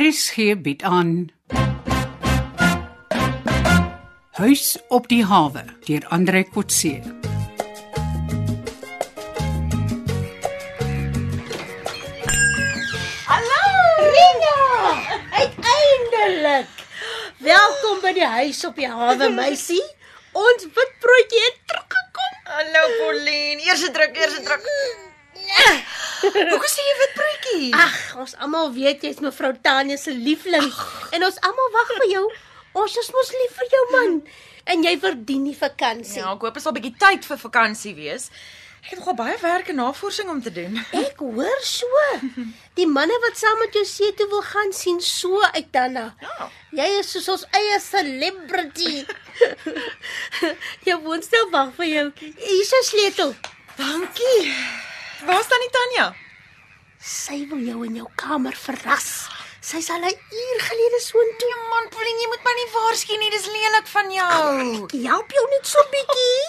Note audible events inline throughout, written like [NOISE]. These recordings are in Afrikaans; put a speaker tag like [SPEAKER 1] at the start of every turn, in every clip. [SPEAKER 1] RSG bied aan Huis op die hawe deur Andre Kotse.
[SPEAKER 2] Hallo!
[SPEAKER 3] Rina! Uiteindelik. Welkom by die huis op die hawe, meisie. Ons witbroodjie het teruggekom.
[SPEAKER 2] Hallo Pauline. Eerste druk, eerste druk. [LAUGHS] Hoekom sê jy wit broodjie?
[SPEAKER 3] Ag, ons almal weet jy's mevrou Tanya se liefling en ons almal wag vir jou. Ons is mos lief vir jou man en jy verdien die vakansie.
[SPEAKER 2] Ja, ek hoop dit sal 'n bietjie tyd vir vakansie wees. Ek het nogal baie werk en navorsing om te doen.
[SPEAKER 3] Ek hoor so. Die manne wat saam met jou see toe wil gaan sien so uit Tanna.
[SPEAKER 2] Ja.
[SPEAKER 3] Jy is soos ons eie celebrity. jou woonstel wag vir jou. Hier is 'n sleutel.
[SPEAKER 2] Dankie. Waar staan die Tanya?
[SPEAKER 3] Sy wil jou in jou kamer verras. Sy's al 'n uur gelede soontoe.
[SPEAKER 2] Nee man, Pauline, jy moet my nie waarsku nie. Dis lelik van jou.
[SPEAKER 3] Ek help jou net so bietjie.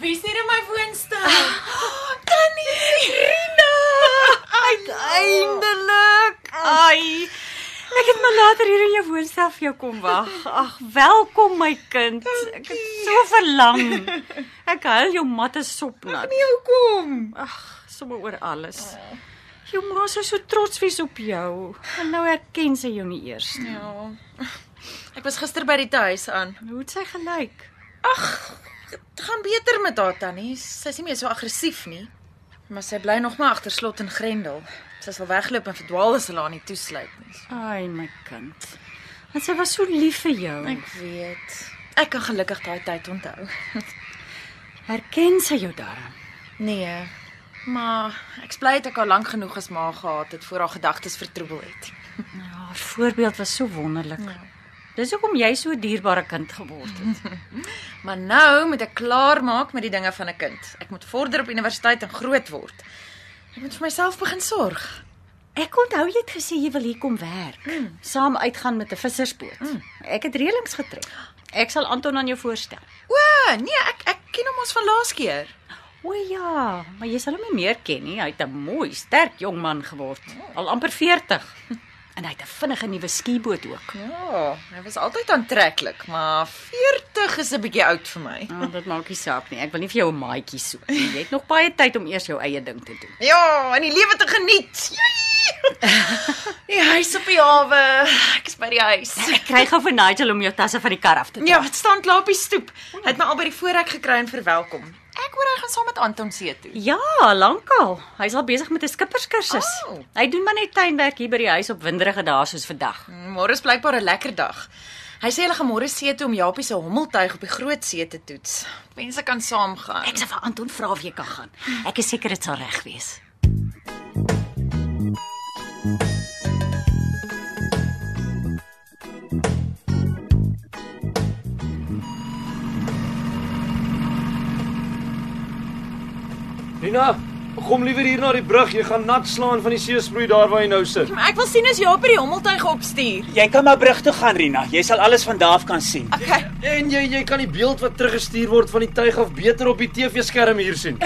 [SPEAKER 2] Wie's nie in my woonstel? [GASPS] Tannie [LAUGHS] Rina. Uiteindelik. Ai.
[SPEAKER 4] Ek het maar later hier in jou woonstel vir jou kom wag. Ag, welkom my kind. Ek het so verlang. Ek huil jou matte sop nat.
[SPEAKER 2] Nee, hoekom?
[SPEAKER 4] Ag, sommer oor alles. Jou ma sou so trots wees op jou. En nou herken sy jou nie eers nie.
[SPEAKER 2] Ja. Ek was gister by die tuis aan.
[SPEAKER 4] Hoe het sy gelyk?
[SPEAKER 2] Dit gaan beter met haar tannie. Sy's nie meer so aggressief nie. Maar sy bly nog maar agter slot en grendel. Sy sal wegloop en verdwaal as hulle haar nie toesluit nie.
[SPEAKER 4] Ai, my kind. Want sy was so lief vir jou.
[SPEAKER 2] Ek Hm. weet. Ek kan gelukkig daai tyd onthou.
[SPEAKER 4] Herken sy jou daaraan?
[SPEAKER 2] Nee. Maar ek bly dit ek al lank genoeg as ma gehad het voor haar gedagtes vertroebel het.
[SPEAKER 4] Ja, haar voorbeeld was so wonderlik. Dis hoekom jy so 'n dierbare kind geword het.
[SPEAKER 2] Maar nou moet ek klaar maak met die dinge van 'n kind. Ek moet vorder op universiteit en groot word. Ek moet vir myself begin sorg.
[SPEAKER 4] Ek onthou jy het gesê jy wil hier kom werk, mm. saam uitgaan met 'n vissersboot. Mm. Ek het reëlings getref. Ek sal Anton aan jou voorstel.
[SPEAKER 2] O, nee, ek ek ken hom ons van laas keer.
[SPEAKER 4] O ja, maar jy sal hom nie meer ken nie. Hy het 'n mooi, sterk jong man geword, al amper [LAUGHS] 40. En hy het 'n vinnige nuwe skieboot ook.
[SPEAKER 2] Ja, hy was altyd aantreklik, maar 40 is 'n bietjie oud vir my.
[SPEAKER 4] Oh, dit maak nie saak nie. Ek wil nie vir jou 'n maatjie soek nie. [LAUGHS] Jy het nog baie tyd om eers jou eie ding te doen.
[SPEAKER 2] Ja, en die lewe te geniet. [LAUGHS] Jee! Die huis op die hawe. Ek is by die huis.
[SPEAKER 4] Ek kry gou vir Nigel om jou tasse van die kar af te
[SPEAKER 2] Ja, wat staan klaar op die stoep. Hy het my al by die voorrek gekry en verwelkom. Ek hoor hy gaan saam met Anton see toe.
[SPEAKER 4] Ja, lankal. Hy's al besig met 'n skipperskursus.
[SPEAKER 2] Oh.
[SPEAKER 4] Hy doen maar net tuinwerk hier by die huis op winderige dae soos vandag.
[SPEAKER 2] Môre is blykbaar 'n lekker dag. Hy sê hulle gaan môre see toe om Japie se hommeltuig op die groot see te toets. Mense kan saamgaan.
[SPEAKER 4] Ek sê vir Anton vra of jy kan gaan. Ek is seker dit sal reg wees.
[SPEAKER 5] Rina, kom liewer hier na die brug. Jy gaan nat slaan van die seesproei daar waar jy nou sit.
[SPEAKER 2] Maar ek wil sien as Japie die hommeltuig opstuur.
[SPEAKER 6] Jy kan maar brug toe gaan Rina. Jy sal alles van daar af kan sien.
[SPEAKER 2] Okay.
[SPEAKER 5] En jy jy kan die beeld wat teruggestuur word van die tuig af beter op die TV-skerm hier sien.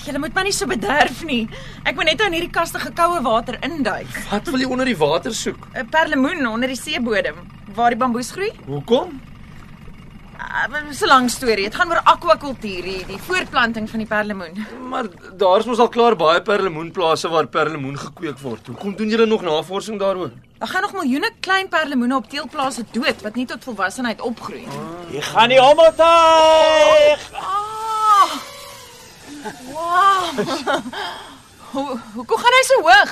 [SPEAKER 2] Jy moet my nie so bederf nie. Ek moet net aan hierdie kaste gekoue water induik.
[SPEAKER 5] Wat wil jy onder die water soek?
[SPEAKER 2] 'n Perlemoen onder die seebodem waar die bamboes groei.
[SPEAKER 5] Hoekom?
[SPEAKER 2] Uh, so lank storie. Dit gaan oor akwakultuur, die, die voortplanting van die perlemoen.
[SPEAKER 5] Maar daar's mos al klaar baie perlemoenplase waar perlemoen gekweek word. Hoekom doen julle nog navorsing daaroor?
[SPEAKER 2] Daar gaan nog miljoene klein perlemoene op teelplase dood wat nie tot volwassenheid opgroei nie.
[SPEAKER 6] Jy gaan die hommeltuig.
[SPEAKER 2] Ah! Wow! Hoe hoekom gaan hy so hoog?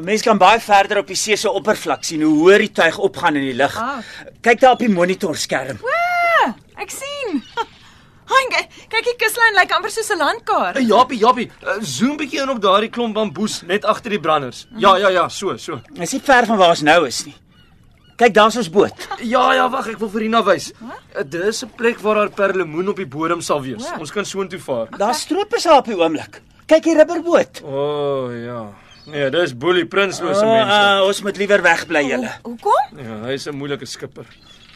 [SPEAKER 6] 'n Mens kan baie verder op die see se oppervlak sien hoe hoër die tuig opgaan in die lug.
[SPEAKER 2] Ah.
[SPEAKER 6] Kyk daar op die monitorskerm.
[SPEAKER 2] Woe! Ek sien. Hang, kyk die kuslyn lyk amper soos 'n landkaart.
[SPEAKER 5] Hey, Japie, Japie, eh, zoom bietjie in op daardie klomp bamboes net agter die branders. Ja, ja, ja, so, so.
[SPEAKER 6] Dit is nie ver van waar ons nou is nie. Kyk, daar's ons boot.
[SPEAKER 5] Ja, ja, wag, ek wil vir Rina wys. Eh, Dis 'n plek waar haar perlemoen op die bodem sal wees. Ons kan soontoe vaar.
[SPEAKER 6] Daar stroop is daar op die oomblik. Kyk die rubberboot.
[SPEAKER 5] O oh, ja. Nee, dis boelie prinslose
[SPEAKER 6] O,
[SPEAKER 5] mense.
[SPEAKER 6] ah, ons moet liewer wegbly julle.
[SPEAKER 2] Hoekom?
[SPEAKER 5] Ja, hy is 'n moeilike skipper.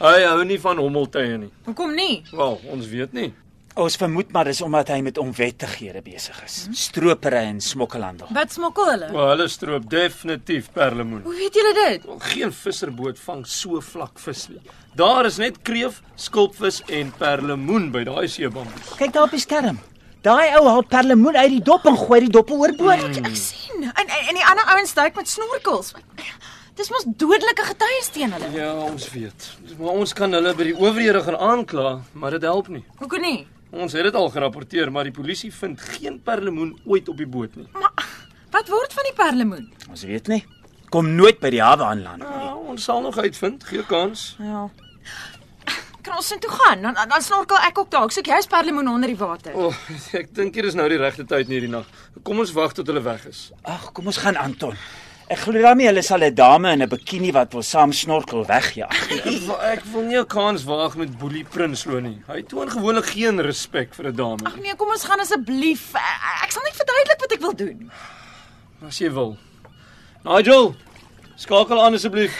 [SPEAKER 5] Hy hou nie van hommeltuie nie.
[SPEAKER 2] Hoekom nie?
[SPEAKER 5] Wel, ons weet nie.
[SPEAKER 6] Ons vermoed maar dis omdat hy met onwettighede besig is. Stropery Mhm. en smokkelhandel.
[SPEAKER 2] Wat smokkel hulle?
[SPEAKER 5] Maar hulle stroop definitief perlemoen.
[SPEAKER 2] Hoe weet julle dit?
[SPEAKER 5] Geen visserboot vang so vlak vis nie. Daar is net kreef, skulpvis en perlemoen by daai seebamboes.
[SPEAKER 6] Kyk daar op die skerm. Daai ou haal perlemoen uit die dop en gooi die dop oorboord.
[SPEAKER 5] Hmm.
[SPEAKER 2] Ek sien. En en, en die ander ouens duik met snorkels. Dis mos dodelike getuies teen hulle.
[SPEAKER 5] Ja, ons weet. Maar ons kan hulle by die owerhede gaan aankla, maar dit help nie.
[SPEAKER 2] Hoekom nie?
[SPEAKER 5] Ons het dit al gerapporteer, maar die polisie vind geen perlemoen ooit op die boot nie.
[SPEAKER 2] Maar wat word van die perlemoen?
[SPEAKER 6] Ons weet nie. Kom nooit by die hawe aanland nie.
[SPEAKER 5] Ja, ons sal nog uitvind, gee kans.
[SPEAKER 2] Ja. Kan ons intoe gaan? Dan dan snorkel ek ook daar. Ek soek jy's perlemoen onder die water.
[SPEAKER 5] O, oh, ek dink hier is nou die regte tyd nie hierdie nag. Kom ons wag tot hulle weg is.
[SPEAKER 6] Ag, kom ons gaan Anton. Ek glo daarmee hulle sal 'n dame in 'n bikini wat wil saam snorkel wegjaag.
[SPEAKER 5] Ek wil, ek wil nie 'n kans waag met Boelie Prinsloo nie. Hy toon gewoonlik geen respek vir 'n dame
[SPEAKER 2] Ag
[SPEAKER 5] nie.
[SPEAKER 2] nee, kom ons gaan asseblief. Eh, Ek- Ek sal net verduidelik wat ek wil doen.
[SPEAKER 5] As jy wil. Nigel, skakel aan asseblief.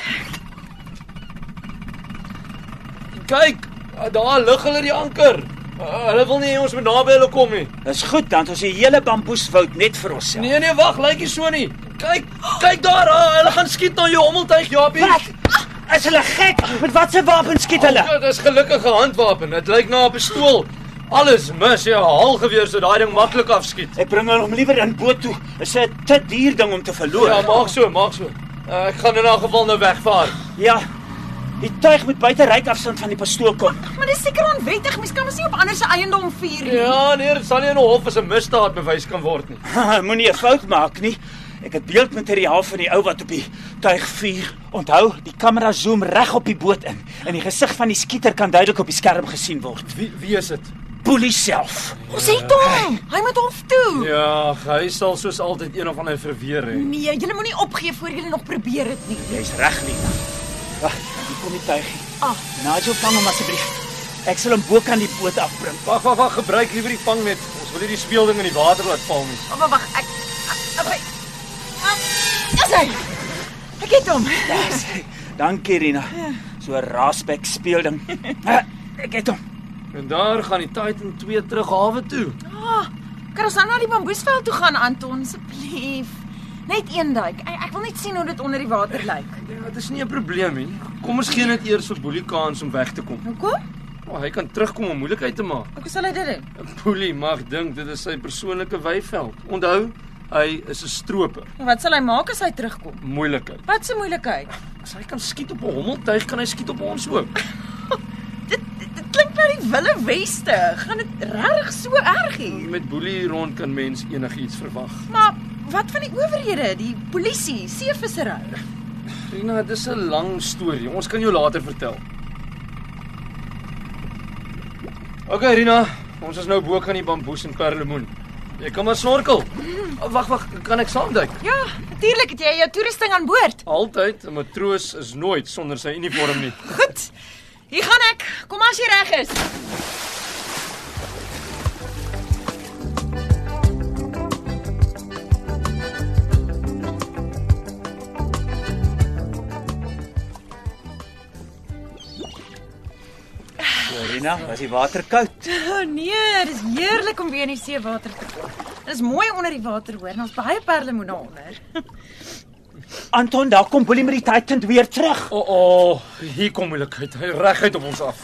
[SPEAKER 5] Kyk, daar lig hulle die anker. Uh, hulle wil nie hê ons moet naby hulle kom nie.
[SPEAKER 6] Dis goed dan het ons die hele bamboeswoud net vir onsself.
[SPEAKER 5] Nee nee, wag, lyk nie so nie. Kyk, kyk daar, ah, hulle gaan skiet na jou hommeltuig, Japie.
[SPEAKER 6] Wat? Ah, Is hulle gek? Met watse wapens skiet hulle?
[SPEAKER 5] Ja, Dit is gelukkig 'n handwapen. Dit lyk na 'n pistool. Alles mis, ja, 'n haalgeweer sou daai ding maklik afskiet.
[SPEAKER 6] Ek bring hulle hom liewer in boot toe. Is 'n te duur ding om te verloor.
[SPEAKER 5] Ja, maak so, maak so. Uh, ek gaan in 'n geval nou wegvaar.
[SPEAKER 6] Ja. Die tuig moet buite rykafstand van die pistool kom. [LAUGHS]
[SPEAKER 2] Maar dis seker onwettig. Mens kan mos nie op ander se eiendom vuur nie.
[SPEAKER 5] Ja, nee, dit sal nie in 'n hof as 'n misdaad bewys kan word nie.
[SPEAKER 6] Moenie 'n fout maak nie. Ek het beeldmateriaal van die ou wat op die tuig vuur. Onthou, die kamera zoom reg op die boot in en die gesig van die skieter kan duidelik op die skerm gesien word.
[SPEAKER 5] Wie wie is dit?
[SPEAKER 6] Boelie self.
[SPEAKER 2] Ons het hom. Hy moet hof toe.
[SPEAKER 5] Ja, hy sal soos altyd een of ander verweer hê.
[SPEAKER 2] Nee, julle moenie opgee voor julle nog probeer dit nie.
[SPEAKER 6] Jy's reg, Lina. Wag, hier kom die tuig. Ah, Nigel vang hom asseblief. Ek sal hom bo kan die boot afbring.
[SPEAKER 5] Wag, wag, wag, gebruik liewer die vangnet. Ons wil nie die speelding in die water laat val nie.
[SPEAKER 2] Oh, wag, wag, ek ek Dis hy. ja, Ek het hom.
[SPEAKER 6] Dis hy. Dankie, Rina. So 'n raspek [LAUGHS] speelding. Ah, Ek het hom.
[SPEAKER 5] En daar gaan die Titan 2 terug hawe toe.
[SPEAKER 2] Ah, kan ons nou na die bamboesveld toe gaan, Anton, asseblief? Net een duik. Ek, ek wil net sien hoe dit onder die water lyk.
[SPEAKER 5] Ja, dit is nie 'n probleem nie. Kom ons gee net eers vir Boelie kans om weg te kom.
[SPEAKER 2] Hoekom?
[SPEAKER 5] Oh, hy kan terugkom om moeilikheid te maak.
[SPEAKER 2] Ek Nou sal dit doen.
[SPEAKER 5] Boelie mag dink dit is sy persoonlike weiveld. Onthou, hy is 'n stroper.
[SPEAKER 2] Wat sal hy maak as hy terugkom?
[SPEAKER 5] Moeilikheid.
[SPEAKER 2] Wat 'n moeilikheid.
[SPEAKER 5] As hy kan skiet op 'n hommeltuig, kan hy skiet op ons ook.
[SPEAKER 2] Dit dit, dit klink na die Wille Weste. Gaan dit regtig so erg hier?
[SPEAKER 5] Met boelie rond kan mens enigiets verwag.
[SPEAKER 2] Maar wat van die owerhede, die polisie, seevissery?
[SPEAKER 5] Rina, dis 'n lang storie. Ons kan jou later vertel. OK, Rina, ons is nou bo kan die bamboes en perlemoen. Jy kan maar snorkel. Oh, Wag, wag, kan ek saamduik?
[SPEAKER 2] Ja, natuurlik het jy jou toerusting aan boord.
[SPEAKER 5] Altyd 'n matroos is nooit sonder sy uniform nie.
[SPEAKER 2] Goed. Hier gaan ek. Kom as jy reg is.
[SPEAKER 6] So, Rina, was die water koud?
[SPEAKER 2] O oh, nee, dis heerlik om weer in die seewater te kom. Dit is mooi onder die water hoor. Ons baie perlemoene onder.
[SPEAKER 6] Anton, daar kom Boelie met die Titan weer terug.
[SPEAKER 5] [LAUGHS] O, oh, oh, hier kom moeilikheid. Hy reguit op ons af.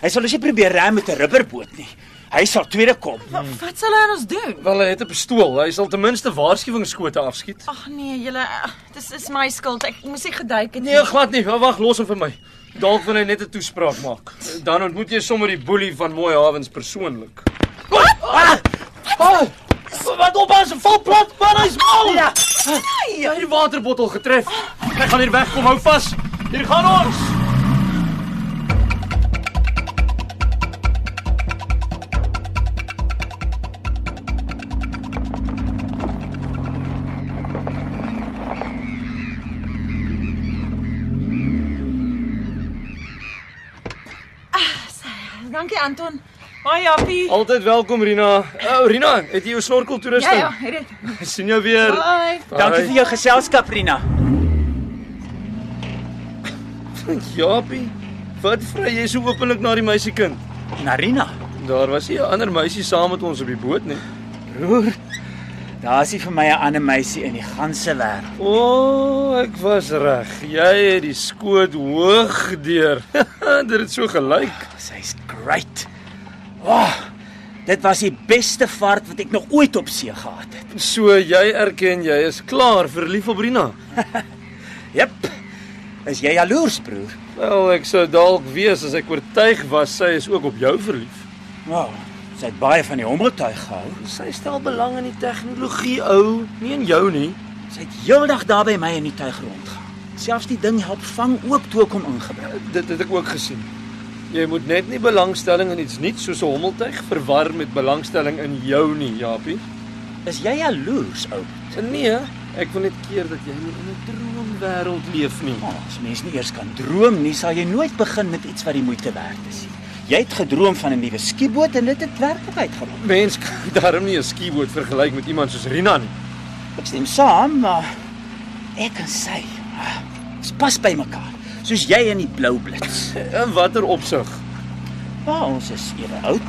[SPEAKER 6] Hy sal ons nie probeer ram met 'n rubberboot nie. Hy sal tweede kom.
[SPEAKER 2] Wat, wat sal hy aan ons doen?
[SPEAKER 5] Wel, hy het 'n pistool. Hy sal ten minste waarskuwingsskote afskiet.
[SPEAKER 2] Ag nee, julle, eh, dis is my skuld. Ek moes nie geduik het
[SPEAKER 5] Nee, glad nie. Wa- Wag, los hom vir my. Dalk wil hy net 'n toespraak maak. Dan ontmoet jy sommer die boelie van Mooi Hawens persoonlik.
[SPEAKER 6] Ah!
[SPEAKER 5] Oh, wat op as val plat, man, hy's mal.
[SPEAKER 6] Ja.
[SPEAKER 5] Hy het die waterbottel getref. Hy gaan hier wegkom, hou vas. Hier gaan ons.
[SPEAKER 2] Dankie Anton.
[SPEAKER 4] Baie happy.
[SPEAKER 5] Altyd welkom, Rina. Ou oh, Rina, het jy jou
[SPEAKER 2] Ja
[SPEAKER 5] snorkeltoerusting?
[SPEAKER 2] ja, het dit.
[SPEAKER 5] Sien jou weer.
[SPEAKER 2] Bye.
[SPEAKER 6] Ah. Dankie vir jou geselskap, Rina.
[SPEAKER 5] Japie. Wat vra jy so openlik na die meisiekind?
[SPEAKER 6] Narina,
[SPEAKER 5] Daar was nie 'n ander meisie saam met ons op die boot nie.
[SPEAKER 6] broer, daar's nie vir my 'n ander meisie in die ganse wêreld.
[SPEAKER 5] O, oh, ek was reg. Jy het die skoot hoog deur. [LAUGHS] Dit het so gelyk.
[SPEAKER 6] Sy's great. Wow. Dit was die beste vaart wat ek nog ooit op see gehad het.
[SPEAKER 5] So jy erken jy is klaar verlief op Rina.
[SPEAKER 6] Jep. Is jy jaloers, broer?
[SPEAKER 5] Wel, ek sou dalk wees as ek oortuig was sy is ook op jou verlief.
[SPEAKER 6] Wow. Sy het baie van die hommeltuig gehou.
[SPEAKER 5] Sy stel belang in die tegnologie, ou, nie in jou nie.
[SPEAKER 6] Sy het heeldag daar by my in die tuig rondgegaan. Selfs die ding help vang ook toe ek hom ingebring. het.
[SPEAKER 5] Dit het ek ook gesien. Jy moet net nie belangstelling in iets nuuts soos 'n hommeltuig verwar met belangstelling in jou nie, Japie.
[SPEAKER 6] Is jy jaloers, ou?
[SPEAKER 5] Nee, ek wil net keer dat jy nie in 'n droomwêreld leef nie.
[SPEAKER 6] Oh, as mens nie eers kan droom nie, sal jy nooit begin met iets wat die moeite werd is nie. Jy het gedroom van 'n nuwe skieboot en dit het werklikheid geword.
[SPEAKER 5] Mens kan darm nie 'n skieboot vergelyk met iemand soos Rina nie.
[SPEAKER 6] Ek stem saam, maar ek en sy ah, ons pas by mekaar, soos jy in die blou blits.
[SPEAKER 5] In watter opsig?
[SPEAKER 6] Maar ons is ewe oud.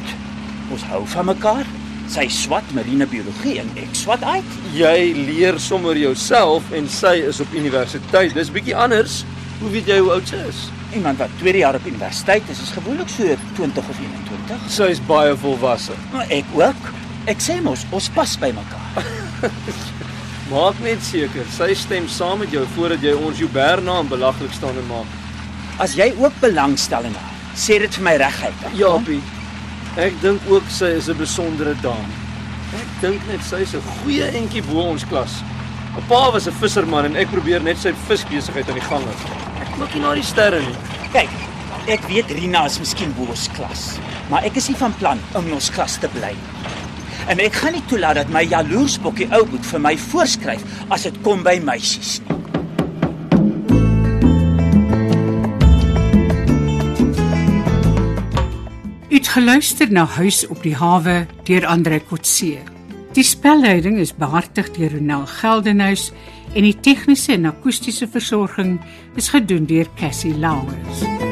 [SPEAKER 6] Ons hou van mekaar. Sy swat marine biologie en ek swat uit.
[SPEAKER 5] Jy leer sommer jouself en sy is op universiteit. Dis bietjie anders. Hoe weet jy hoe oud sy is?
[SPEAKER 6] Iemand wat 2 jaar op universiteit is, is gewoonlik so 20 of 21.
[SPEAKER 5] Sy is baie volwasse.
[SPEAKER 6] Maar ek ook. Ek sê mos, ons pas by mekaar.
[SPEAKER 5] Maak net seker sy stem saam met jou voordat jy ons Jouberna in belaglik staan en maak.
[SPEAKER 6] As jy ook belangstel in haar, sê dit vir my reguit.
[SPEAKER 5] Japie. Ek dink ook sy is 'n besondere dame. Ek dink net sy is 'n goeie entjie bo ons klas. 'n Pa was 'n visserman en ek probeer net sy visbesigheid aan die gang hou. Ek kyk nie na die sterre nie.
[SPEAKER 6] Kyk, ek weet Rina is miskien bo ons klas, maar ek is nie van plan om in ons klas te bly. En ek gaan nie toelaat dat my jaloers bokkie ou boet vir my voorskryf as dit kom by meisies nie.
[SPEAKER 1] U het geluister na Huis op die hawe deur Andre Kotse. Die spelleiding is behartig deur Ronel Geldenhuys en die tegniese en akoestiese versorging is gedoen deur Cassie Lauers.